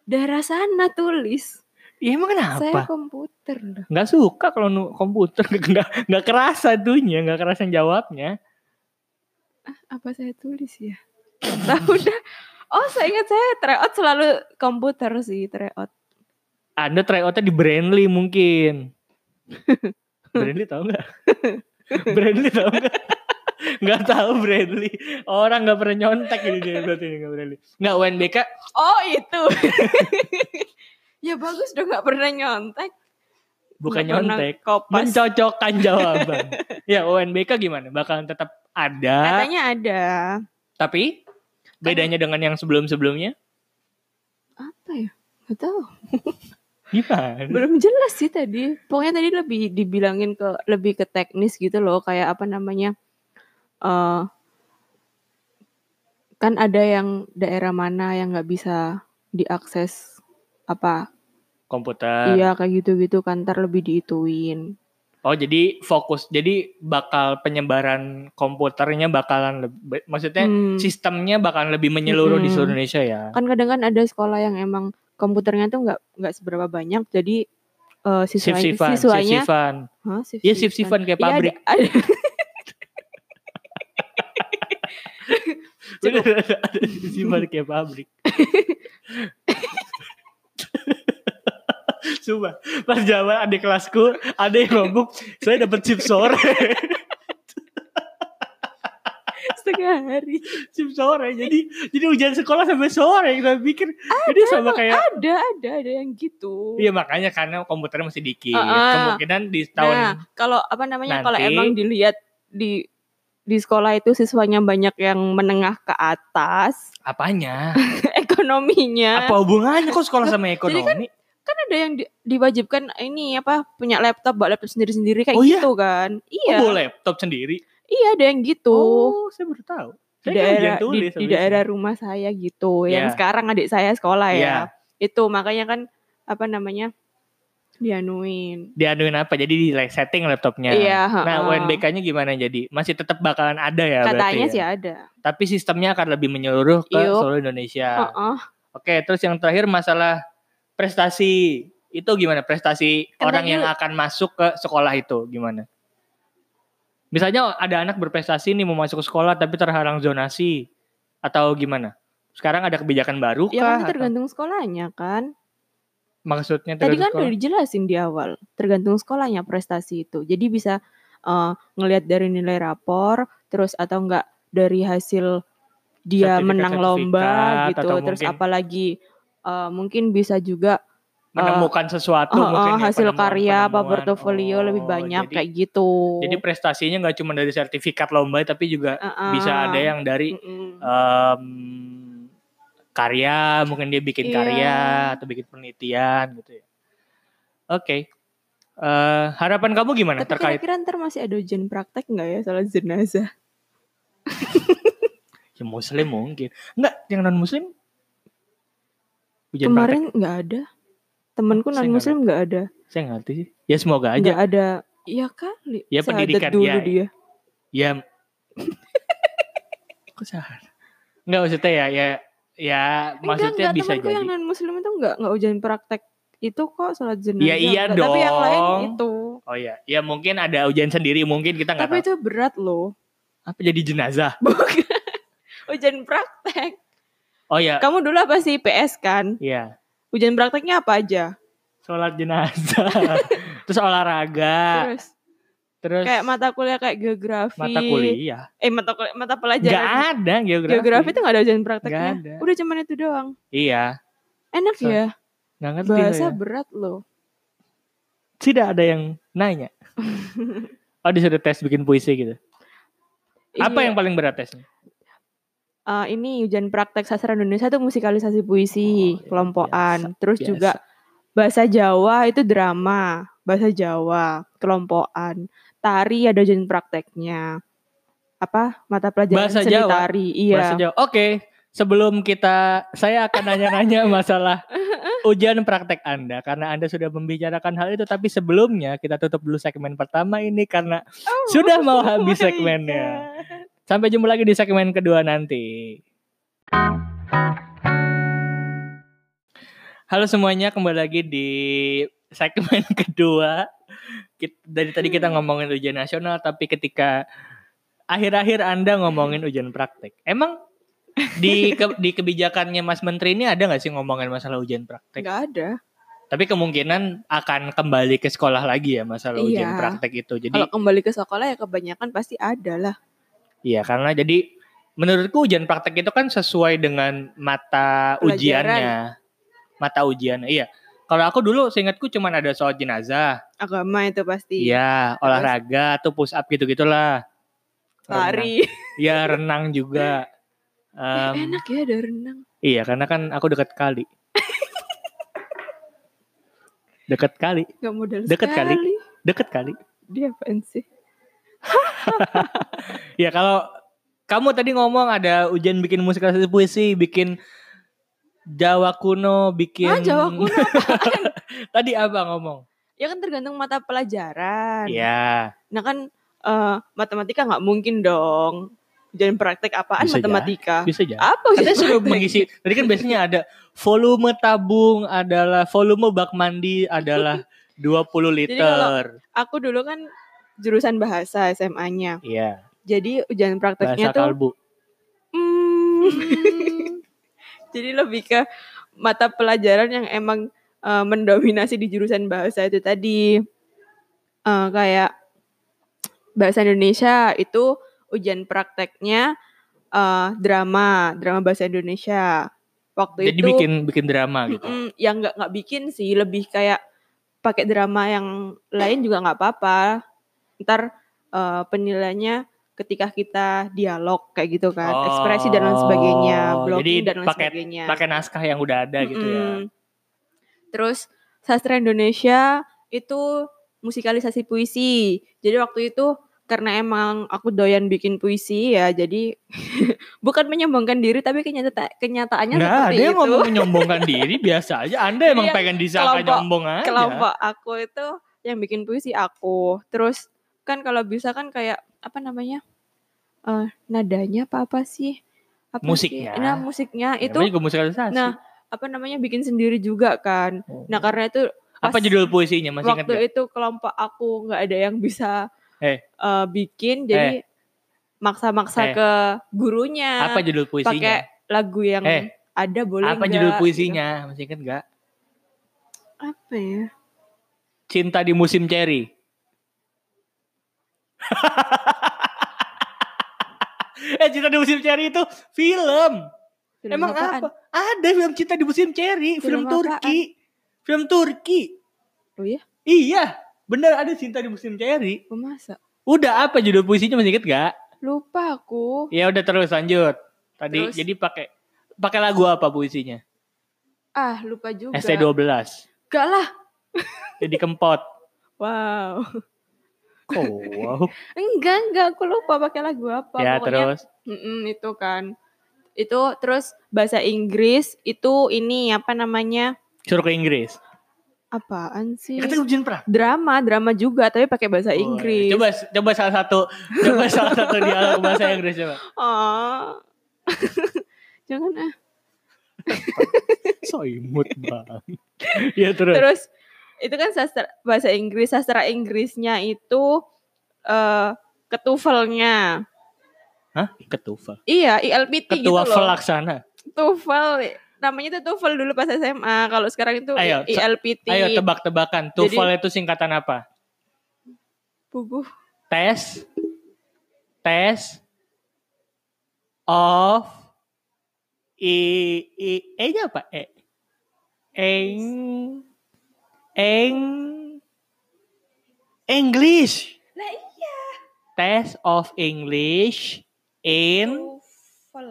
S1: Daerah sana tulis.
S2: Ya emang
S1: Saya
S2: kenapa?
S1: komputer loh.
S2: Nggak suka kalau nu- komputer nggak nggak kerasa dunia, nggak kerasa jawabnya.
S1: Apa saya tulis ya? Tahu dah. Oh, saya ingat saya tryout selalu komputer sih, tryout.
S2: Anda tryoutnya di Brandly mungkin. Brandly tahu nggak? Brandly tahu nggak? Nggak tahu Brandly. Orang nggak pernah nyontek ini dia berarti ini nggak Brandly. Nggak UNBK
S1: Oh, itu. ya bagus dong nggak pernah nyontek.
S2: bukan
S1: Nggak pernah
S2: nyontek
S1: Kopas.
S2: mencocokkan jawaban ya UNBK gimana bakalan tetap ada
S1: Katanya Kan- ada
S2: tapi bedanya dengan yang sebelum-sebelumnya
S1: apa ya? Gak tahu.
S2: gimana
S1: Belum jelas sih tadi. Pokoknya tadi lebih dibilangin ke lebih ke teknis gitu loh, kayak apa namanya? eh kan ada yang daerah mana yang nggak bisa diakses apa?
S2: komputer
S1: Iya kayak gitu-gitu kan ntar lebih diituin.
S2: oh jadi fokus jadi bakal penyebaran komputernya bakalan lebih maksudnya
S1: Hmm.
S2: sistemnya bakalan lebih menyeluruh di
S1: Mm-mm.
S2: seluruh Indonesia ya
S1: Kan kadang kan ada sekolah yang emang komputernya tuh nggak nggak seberapa banyak, jadi eh
S2: shift
S1: siswanya
S2: shiftan shift
S1: siswanya
S2: shiftan
S1: Hah,
S2: ya
S1: shift-shiftan.
S2: shift shiftan kayak
S1: Iya, ada-
S2: pabrik
S1: ada,
S2: Bener, ada, ada shift shiftan kayak pabrik Coba pas jawaban adik kelasku ada yang ngomong saya dapat chip sore
S1: setengah hari.
S2: jam sore jadi jadi ujian sekolah sampai sore kita pikir
S1: Ah,
S2: jadi sama kayak
S1: Ada ada ada yang gitu.
S2: iya makanya karena komputernya masih dikit
S1: Heeh.
S2: kemungkinan di tahun
S1: Ah, nah kalau apa namanya kalau
S2: nanti-
S1: emang dilihat di di sekolah itu siswanya banyak yang menengah ke atas
S2: apanya
S1: ekonominya
S2: apa hubungannya kok sekolah sama
S1: Nah. jadi kan
S2: ekonomi
S1: kan ada yang di- diwajibkan ini apa punya laptop bawa laptop sendiri sendiri kayak
S2: Oh iya?
S1: gitu kan
S2: Oh,
S1: iya
S2: bawa laptop sendiri
S1: iya ada yang gitu
S2: oh saya baru tahu
S1: di
S2: saya kan ujian
S1: daerah di-
S2: tulis
S1: di, daerah rumah saya gitu yang
S2: Iya.
S1: sekarang adik saya sekolah ya
S2: Iya.
S1: itu makanya kan apa namanya dianuin.
S2: dianuin apa jadi di resetting laptopnya
S1: Iya,
S2: nah
S1: heeh.
S2: UNBK-nya gimana jadi masih tetap bakalan ada ya berarti
S1: Katanya
S2: ya?
S1: sih ada.
S2: tapi sistemnya akan lebih menyeluruh ke
S1: Yup.
S2: seluruh Indonesia
S1: Heeh.
S2: Oke, terus yang terakhir masalah prestasi. Itu gimana prestasi
S1: Kan
S2: orang
S1: tadi
S2: yang
S1: lu-
S2: akan masuk ke sekolah itu gimana? Misalnya ada anak berprestasi nih mau masuk ke sekolah tapi terhalang zonasi atau gimana? Sekarang ada kebijakan baru
S1: Ya kan
S2: kah?
S1: itu
S2: Atau-
S1: tergantung sekolahnya kan.
S2: maksudnya
S1: Tadi
S2: tergantung
S1: kan
S2: sekolah?
S1: udah dijelasin di awal, tergantung sekolahnya prestasi itu. Jadi bisa eh, ngelihat dari nilai rapor, terus atau enggak dari hasil dia
S2: Sertifikat-
S1: menang lomba
S2: sertifikat,
S1: gitu,
S2: atau
S1: terus
S2: mungkin-
S1: apalagi eh, mungkin bisa juga
S2: menemukan sesuatu
S1: eh,
S2: mungkin
S1: eh,
S2: ya,
S1: hasil
S2: penemuan-
S1: karya apa
S2: penemuan.
S1: portofolio lebih
S2: Oh,
S1: banyak
S2: jadi,
S1: kayak gitu.
S2: jadi prestasinya nggak cuma dari sertifikat lomba tapi juga
S1: Eh, eh,
S2: bisa ada ya, eh, nah, yang dari
S1: mm-mm.
S2: em, karya mungkin dia bikin
S1: Iya.
S2: karya atau bikin penelitian gitu ya oke Eh, harapan kamu gimana
S1: Tapi
S2: terkait
S1: kira-kira ntar masih ada ujian praktek nggak ya soal jenazah?
S2: ya muslim mungkin enggak yang non muslim
S1: Kemarin nggak ada. Temanku
S2: Saya
S1: non muslim nggak ada.
S2: saya nggak ngerti sih ya semoga aja
S1: Nggak ada. Ya kali.
S2: Ya,
S1: Sehadat
S2: pendidikan,
S1: dulu
S2: ya.
S1: dia.
S2: ya kok salah nggak maksudnya ya ya ya
S1: enggak,
S2: maksudnya bisa
S1: temanku
S2: jadi
S1: yang non muslim itu nggak nggak ujian praktek itu kok sholat jenazah.
S2: Ya, iya
S1: nggak. Tapi yang lain
S2: dong.
S1: itu.
S2: oh ya ya mungkin ada ujian sendiri mungkin kita nggak
S1: Tapi
S2: tahu
S1: itu berat loh.
S2: apa jadi jenazah
S1: Bukan. ujian praktek.
S2: oh ya
S1: Kamu dulu apa sih PS kan?
S2: ya
S1: Ujian prakteknya apa aja?
S2: sholat jenazah terus olahraga
S1: Terus
S2: terus
S1: kayak mata kuliah kayak geografi.
S2: mata kuliah
S1: Eh mata kuliah mata
S2: nggak
S1: pelajaran.
S2: ada geografi,
S1: Geografi itu nggak ada ujian
S2: nggak
S1: prakteknya.
S2: ada
S1: Udah cuman itu doang.
S2: iya
S1: Enak
S2: So-
S1: ya.
S2: nggak ngerti lo
S1: Bahasa
S2: ya.
S1: berat loh.
S2: tidak ada yang nanya oh disuruh tes bikin puisi gitu apa
S1: Iya.
S2: yang paling berat tesnya
S1: Eh, ini ujian praktek sastra Indonesia itu musikalisasi puisi
S2: Oh, iya,
S1: kelompokan, terus
S2: biasa.
S1: juga bahasa Jawa itu drama, bahasa Jawa kelompokan, tari ada ujian prakteknya, apa mata pelajaran
S2: Bahasa
S1: seni
S2: Jawa?
S1: tari, iya.
S2: Bahasa Jawa. oke sebelum kita saya akan nanya-nanya masalah ujian praktek anda karena anda sudah membicarakan hal itu tapi sebelumnya kita tutup dulu segmen pertama ini karena
S1: Oh,
S2: sudah mau habis
S1: my
S2: segmennya
S1: God.
S2: Sampai jumpa lagi di segmen kedua nanti. Halo semuanya, kembali lagi di segmen kedua. Kit- Dari tadi kita
S1: Hmm.
S2: ngomongin ujian nasional, tapi ketika akhir-akhir Anda ngomongin ujian praktek. Emang di ke- di kebijakannya Mas Menteri ini ada nggak sih ngomongin masalah ujian praktek?
S1: Nggak ada.
S2: Tapi kemungkinan akan kembali ke sekolah lagi ya masalah
S1: Iya.
S2: ujian praktek itu. Jadi
S1: Kalau kembali ke sekolah ya kebanyakan pasti ada lah.
S2: Iya karena jadi menurutku ujian praktek itu kan sesuai dengan mata
S1: Pelajaran.
S2: ujiannya. Mata ujiannya iya. Kalau aku dulu seingatku cuman ada soal jenazah.
S1: Agama itu pasti
S2: Iya, olahraga tuh push up gitu-gitulah. Renang.
S1: tari.
S2: Iya, renang juga. Em,
S1: Enak ya ada renang.
S2: iya, karena kan aku dekat kali. dekat kali,
S1: Gak modal
S2: Deket kali.
S1: sekali.
S2: dekat kali.
S1: Dia apaan sih?
S2: Iya, kalau kamu tadi ngomong ada ujian bikin musikalisasi puisi, bikin Jawa kuno, bikin
S1: Ah, Jawa kuno apaan?
S2: Tadi apa ngomong?
S1: Ya kan tergantung mata pelajaran.
S2: Iya.
S1: Nah kan eh, matematika nggak mungkin dong. Jadi praktek apaan
S2: Bisa
S1: matematika?
S2: Bisa aja.
S1: Apa
S2: Katanya
S1: ujian
S2: suruh
S1: praktek?
S2: mengisi. Tadi kan biasanya ada volume tabung adalah volume bak mandi adalah 20 liter.
S1: Aku dulu kan jurusan bahasa SMA-nya.
S2: Iya.
S1: Jadi ujian
S2: Bahasa
S1: prakteknya tuh
S2: kalbu.
S1: hmm, jadi lebih ke mata pelajaran yang emang eh, mendominasi di jurusan bahasa itu tadi. Eh, kayak bahasa Indonesia itu ujian prakteknya eh, drama, drama bahasa Indonesia. Waktu
S2: Jadi
S1: itu
S2: bikin bikin drama gitu.
S1: Mm-mm, yang nggak nggak bikin sih lebih kayak pakai drama yang lain juga nggak apa-apa ntar eh, penilaiannya ketika kita dialog kayak gitu kan
S2: Oh,
S1: ekspresi dan lain sebagainya blocking
S2: jadi
S1: dan lain
S2: pakai-
S1: sebagainya
S2: Pakai naskah yang udah ada gitu ya.
S1: Mm-mm. terus sastra Indonesia itu musikalisasi puisi jadi waktu itu karena emang aku doyan bikin puisi ya jadi bukan menyombongkan diri tapi kenyata kenyataannya
S2: Nggak,
S1: seperti
S2: dia
S1: itu
S2: ngomong menyombongkan diri biasa aja. Anda
S1: Iya,
S2: emang pengen disangka
S1: kelompok-
S2: nyombong aja.
S1: kelompok aku itu yang bikin puisi aku terus kan kalau bisa kan kayak apa namanya eh nadanya apa apa sih apa
S2: Musiknya.
S1: sih? nah musiknya
S2: Ya,
S1: itu
S2: namanya juga musikalisasi.
S1: nah apa namanya bikin sendiri juga kan nah karena itu
S2: apa
S1: pas-
S2: judul puisinya masih ingat
S1: waktu
S2: nggak?
S1: itu kelompok aku nggak ada yang bisa
S2: Eh.
S1: eh, bikin jadi maksa-maksa
S2: Eh.
S1: ke gurunya
S2: Apa judul puisinya?
S1: pakai lagu yang
S2: Eh.
S1: ada boleh
S2: Apa
S1: nggak,
S2: judul
S1: gitu.
S2: puisinya? Masih ingat nggak?
S1: apa ya
S2: Cinta di musim ceri. eh Cinta di musim ceri itu film.
S1: Film
S2: Emang
S1: apaan?
S2: apa? Ada film Cinta di Musim Ceri,
S1: Film
S2: film, Turki. Film Turki.
S1: Oh iya?
S2: Iya, bener ada Cinta di Musim Ceri.
S1: Oh, masa
S2: Udah apa judul puisinya masih inget gak?
S1: lupa aku
S2: Ya udah terus lanjut. Tadi
S1: Terus?
S2: jadi pakai pakai lagu apa puisinya?
S1: ah lupa juga
S2: ST12.
S1: Gak lah
S2: E Jadi kempot.
S1: wow
S2: Oh, wow.
S1: enggak enggak aku lupa pakai lagu apa
S2: ya
S1: pokoknya
S2: terus.
S1: mm-mm, itu kan itu terus bahasa Inggris itu ini apa namanya
S2: Suruh ke Inggris.
S1: apaan sih
S2: Ya, kata ujian pra.
S1: drama drama juga tapi pakai bahasa Inggris
S2: Coba coba salah satu coba salah satu dialog bahasa Inggris coba.
S1: Ah. jangan ah
S2: Soimut banget. ya terus.
S1: terus itu kan sastra bahasa Inggris sastra Inggrisnya itu eh ketufelnya
S2: Hah? Ketufa.
S1: iya ILPT gitu loh
S2: Ketua Felaksana.
S1: TOEFL namanya itu TOEFL dulu pas SMA kalau sekarang itu
S2: Ayo,
S1: I- ILPT
S2: Ayo tebak-tebakan.
S1: Iya. Jadi-
S2: TOEFL itu singkatan apa?
S1: Puguh.
S2: Tes. Tes. Of. I. I E-nya apa? E. Eng. Eng. English.
S1: Lah iya
S2: Test of English in
S1: TOEFL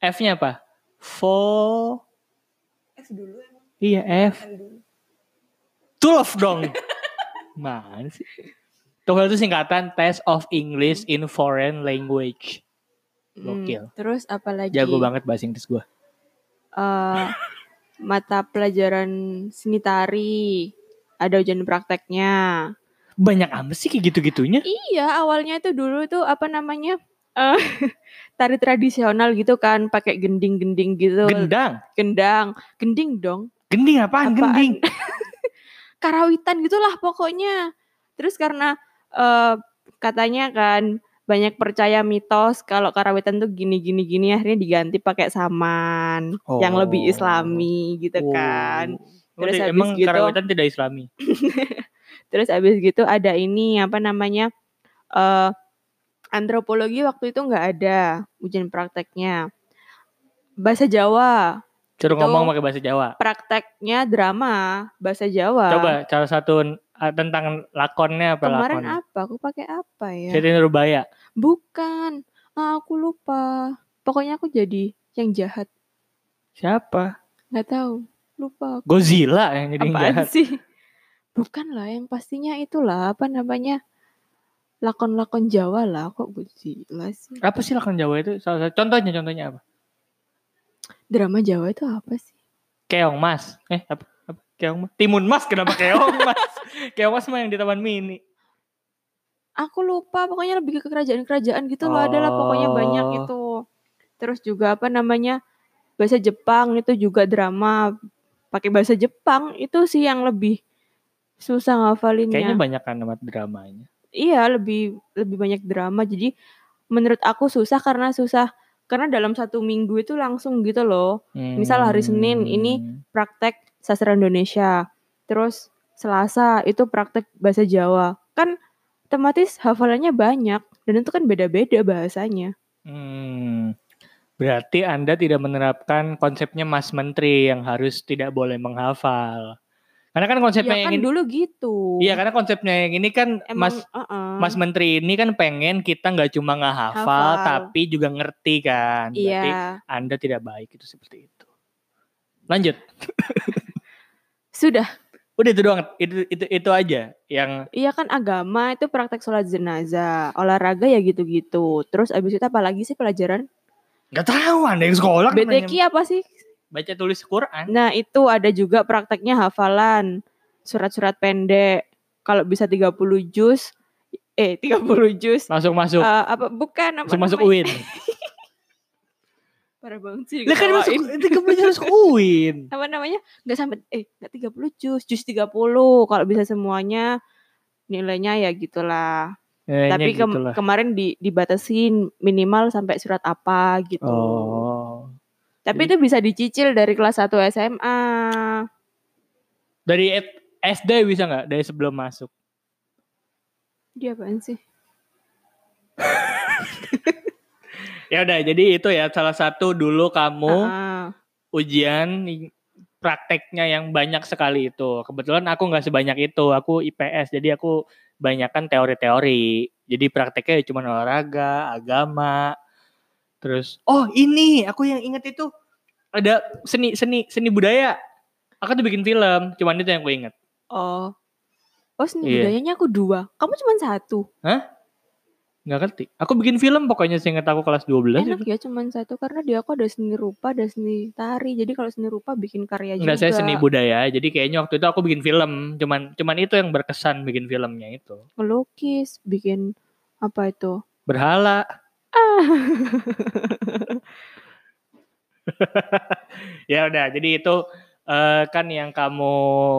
S2: F-nya apa? Fo.
S1: F dulu Eh, emang
S2: Iya F.
S1: F dulu
S2: Tulaf dong. Mana sih? TOEFL itu singkatan Test of English in Foreign Language. Gokil.
S1: Hmm, terus apa lagi
S2: Jago banget bahasa Inggris gue.
S1: Eh, mata pelajaran seni tari ada ujian prakteknya
S2: Banyak amat sih kayak gitu-gitunya.
S1: Iya, awalnya itu dulu tuh apa namanya? eh tari tradisional gitu kan, pakai gending-gending gitu,
S2: Gendang.
S1: gendang, gending dong,
S2: Gending apaan?
S1: Apaan?
S2: Gending.
S1: karawitan gitulah pokoknya. Terus karena eh katanya kan banyak percaya mitos kalau karawitan tuh gini-gini gini akhirnya diganti pakai saman yang
S2: Oh.
S1: lebih islami gitu
S2: Oh.
S1: kan. Terus
S2: Udah,
S1: habis
S2: Emang
S1: gitu-
S2: karawitan tidak islami?
S1: Terus abis gitu ada ini apa namanya eh antropologi waktu itu nggak ada ujian prakteknya. Bahasa Jawa
S2: Suruh
S1: Itu-
S2: ngomong pakai bahasa Jawa.
S1: prakteknya drama bahasa Jawa.
S2: Coba salah satu ah, tentang lakonnya apa
S1: kemarin
S2: lakonnya?
S1: apa? Aku pakai apa ya?
S2: Siti Nurbaya.
S1: Bukan. Ah, aku lupa. Pokoknya aku jadi yang jahat.
S2: Siapa?
S1: Nggak tahu. Lupa. aku.
S2: Godzilla yang jadi yang
S1: Apaan
S2: jahat.
S1: sih? Bukan lah, yang pastinya itulah apa namanya lakon-lakon Jawa lah. Kok Godzilla sih?
S2: Apa sih lakon Jawa itu? Salah satu- Contohnya, contohnya apa?
S1: Drama Jawa itu apa sih?
S2: Keong Mas. Eh, apa? apa? Keong Mas. Timun Mas kenapa Keong Mas? keong Mas mah yang di Taman Mini.
S1: aku lupa pokoknya lebih ke kerajaan-kerajaan gitu loh adalah pokoknya banyak
S2: Oh.
S1: itu terus juga apa namanya bahasa Jepang itu juga drama pakai bahasa Jepang itu sih yang lebih susah
S2: Kayaknya
S1: ngafalinnya
S2: banyak kan nama dramanya.
S1: iya lebih lebih banyak drama jadi menurut aku susah karena susah karena dalam satu minggu itu langsung gitu loh Misal hari Senin,
S2: Hmm.
S1: ini- praktek sastra Indonesia terus Selasa itu praktek bahasa Jawa kan otomatis hafalannya banyak dan itu kan beda-beda bahasanya
S2: Hmm. Berarti Anda tidak menerapkan konsepnya Mas Menteri yang harus tidak boleh menghafal. Karena kan konsepnya
S1: ya
S2: yang
S1: kan
S2: ini
S1: dulu gitu.
S2: Iya, karena konsepnya yang ini kan Mas
S1: Emang, uh-uh.
S2: Mas Menteri ini kan pengen kita nggak cuma nggak hafal,
S1: Hafal.
S2: tapi juga ngerti kan. Berarti
S1: Iya.
S2: Anda tidak baik itu seperti itu. Lanjut.
S1: Sudah.
S2: Udah itu doang, itu itu itu aja yang
S1: Iya kan agama itu praktek sholat jenazah, olahraga ya gitu-gitu. Terus abis itu apa lagi sih pelajaran?
S2: nggak tahu ada yang sekolah kan nanya-
S1: BTQ apa sih?
S2: baca tulis Quran.
S1: Nah itu ada juga prakteknya hafalan, surat-surat pendek. Kalau bisa 30 juz, eh 30 juz.
S2: Langsung masuk,
S1: Eh, apa bukan apa
S2: langsung masuk
S1: namanya?
S2: UIN.
S1: Parah banget sih
S2: Lah kan masuk
S1: diketawain.
S2: itu kebetulan masuk UIN.
S1: apa namanya nggak sampai eh nggak 30 juz juz 30 kalau bisa semuanya nilainya ya gitulah
S2: Kayaknya gitu
S1: tapi kem-
S2: gitulah.
S1: kemarin di dibatasin minimal sampai surat apa gitu
S2: Oh.
S1: tapi
S2: jadi-
S1: itu bisa dicicil dari kelas 1 SMA
S2: Dari et- SD bisa nggak dari sebelum masuk?
S1: dia apaan sih
S2: Ya udah, jadi itu ya salah satu dulu kamu
S1: Ah,
S2: ujian i- prakteknya yang banyak sekali itu. Kebetulan aku nggak sebanyak itu, aku IPS, jadi aku banyakkan teori-teori. Jadi prakteknya cuma olahraga, agama, terus oh ini aku yang inget itu ada seni seni seni budaya. Aku tuh bikin film, cuman itu yang aku inget.
S1: oh oh seni
S2: Iya.
S1: budayanya aku dua kamu cuma satu
S2: Nggak ngerti. Aku bikin film pokoknya seinget aku kelas 12
S1: enak
S2: itu.
S1: ya cuma satu karena dia aku ada seni rupa ada seni tari jadi kalau seni rupa bikin karya juga
S2: Enggak saya seni budaya. Jadi kayaknya waktu itu aku bikin film, cuman cuman itu yang berkesan bikin filmnya itu.
S1: melukis bikin apa itu
S2: Berhala. ya udah, jadi itu eh, kan yang kamu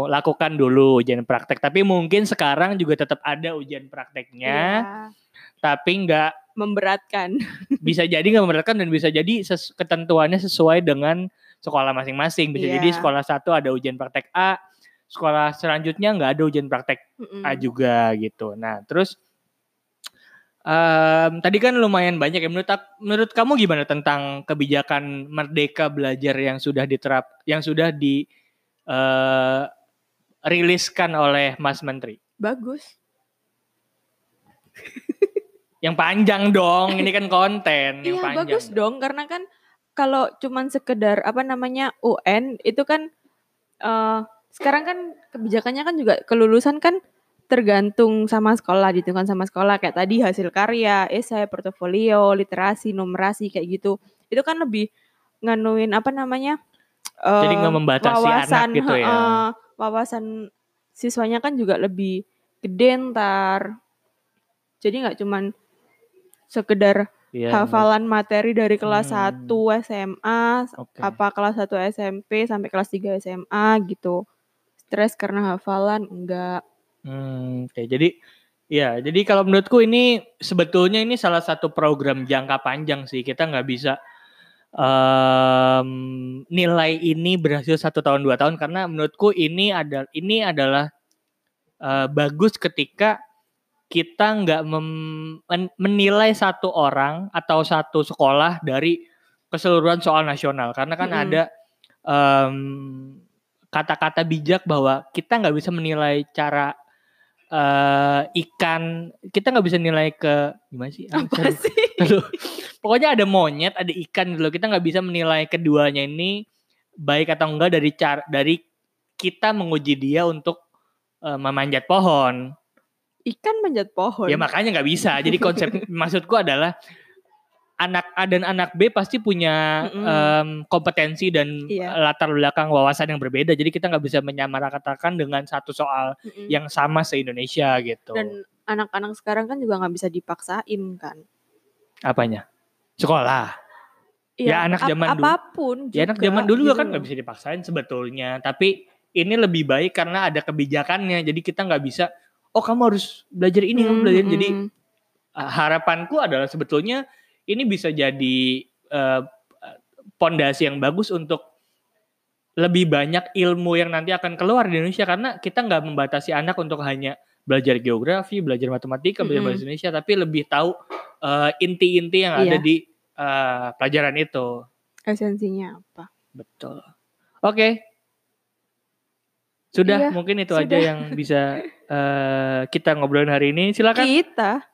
S2: lakukan dulu ujian praktek. Tapi mungkin sekarang juga tetap ada ujian prakteknya,
S1: Iya,
S2: tapi nggak
S1: memberatkan.
S2: bisa jadi nggak memberatkan dan bisa jadi ses- ketentuannya sesuai dengan sekolah masing-masing. Bisa
S1: Iya.
S2: jadi sekolah satu ada ujian praktek A, sekolah selanjutnya nggak ada ujian praktek
S1: Mm-mm.
S2: A juga gitu. Nah, terus em, tadi kan lumayan banyak ya menurut ak- menurut kamu gimana tentang kebijakan merdeka belajar yang sudah diterap yang sudah di eh, riliskan oleh Mas Menteri?
S1: Bagus.
S2: Yang panjang dong, ini kan konten
S1: Iya
S2: yang panjang.
S1: bagus dong karena kan kalau cuman sekedar apa namanya UN itu kan eh sekarang kan kebijakannya kan juga kelulusan kan tergantung sama sekolah ditentukan sama sekolah kayak tadi hasil karya, esai, portofolio, literasi, numerasi kayak gitu. Itu kan lebih nganuin apa namanya?
S2: Jadi
S1: eh,
S2: nggak membatasi anak gitu ya.
S1: heeh, wawasan siswanya kan juga lebih gede ntar. Jadi nggak cuman sekedar
S2: Iya,
S1: hafalan materi dari kelas 1
S2: Hmm.
S1: SMA
S2: oke.
S1: apa kelas 1 SMP sampai kelas 3 SMA gitu. Stres karena hafalan enggak.
S2: Hmm, oke. Jadi ya, jadi kalau menurutku ini sebetulnya ini salah satu program jangka panjang sih. Kita nggak bisa em, nilai ini berhasil satu tahun dua tahun karena menurutku ini ada ini adalah eh, bagus ketika kita nggak mem- men- menilai satu orang atau satu sekolah dari keseluruhan soal nasional karena kan
S1: Mm-mm.
S2: ada mmm, em, kata-kata bijak bahwa kita nggak bisa menilai cara eh, ikan kita nggak bisa nilai ke gimana sih Ah,
S1: Apa
S2: cara-
S1: sih?
S2: Aduh. Pokoknya ada monyet, ada ikan gitu loh. Kita nggak bisa menilai keduanya ini baik atau enggak dari cara dari kita menguji dia untuk eh, memanjat pohon.
S1: Ikan manjat pohon.
S2: Ya makanya nggak bisa. Jadi konsep maksudku adalah anak A dan anak B pasti punya
S1: Mm-mm.
S2: em, kompetensi dan
S1: Iya.
S2: latar belakang wawasan yang berbeda. Jadi kita nggak bisa menyamaratakan dengan satu soal
S1: Mm-mm.
S2: yang sama se Indonesia gitu.
S1: Mm. dan anak-anak sekarang kan juga nggak bisa dipaksain kan.
S2: Apanya? Sekolah. Ya,
S1: Iya,
S2: anak
S1: ap-
S2: zaman dulu.
S1: apapun
S2: Ya anak
S1: juga
S2: zaman dulu
S1: gitu
S2: kan nggak
S1: loh.
S2: bisa dipaksain sebetulnya, tapi ini lebih baik karena ada kebijakannya. Jadi kita nggak bisa, oh kamu harus belajar ini, kamu
S1: Hmm,
S2: belajar. ini." Jadi
S1: hmm.
S2: uh, harapanku adalah sebetulnya ini bisa jadi uh, pondasi yang bagus untuk lebih banyak ilmu yang nanti akan keluar di Indonesia karena kita nggak membatasi anak untuk hanya belajar geografi, belajar matematika, belajar
S1: Mm-mm.
S2: bahasa Indonesia, tapi lebih tahu uh, inti-inti yang ada
S1: Iya.
S2: di uh, pelajaran itu.
S1: esensinya apa?
S2: Betul. Oke. Sudah
S1: Iya,
S2: mungkin itu aja
S1: sudah.
S2: yang bisa eh, kita ngobrolin hari ini. Silakan
S1: Kita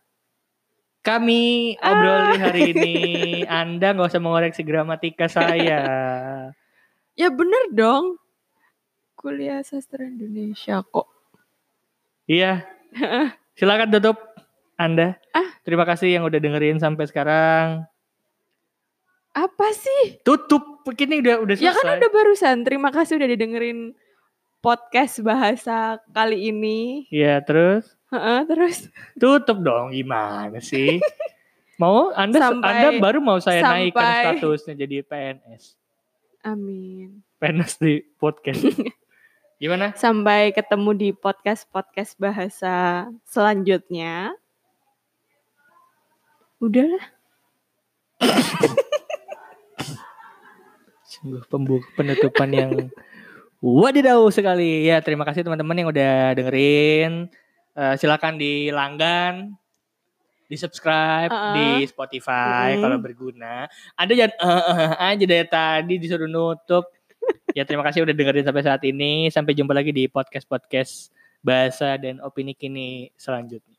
S2: kami
S1: Ah.
S2: obrolin hari ini. Anda nggak usah mengoreksi gramatika saya.
S1: ya bener dong. Ku- kuliah sastra Indonesia kok.
S2: Iya. Silakan tutup Anda.
S1: Ah.
S2: Terima kasih yang udah dengerin sampai sekarang.
S1: Apa sih?
S2: Tutup. Ini udah udah
S1: Ya
S2: selesai.
S1: kan udah barusan. Terima kasih udah didengerin podcast bahasa kali ini.
S2: Iya, terus
S1: Heeh, terus
S2: tutup dong. Gimana sih? mau Anda
S1: Sampai-
S2: Anda baru mau saya naikkan
S1: sampai-
S2: statusnya jadi PNS.
S1: amin.
S2: PNS di podcast. Gimana?
S1: Sampai ketemu di podcast-podcast bahasa selanjutnya. Udah lah.
S2: Sungguh pembuka penutupan yang wadidaw sekali. Ya, terima kasih teman-teman yang udah dengerin. Eh, silakan dilanggan, di subscribe
S1: Uh-uh.
S2: di Spotify
S1: Mm.
S2: kalau berguna. Anda jangan eh, eh, eh aja dari tadi disuruh nutup. ya, terima kasih udah dengerin sampai saat ini. Sampai jumpa lagi di podcast-podcast bahasa dan opini kini selanjutnya.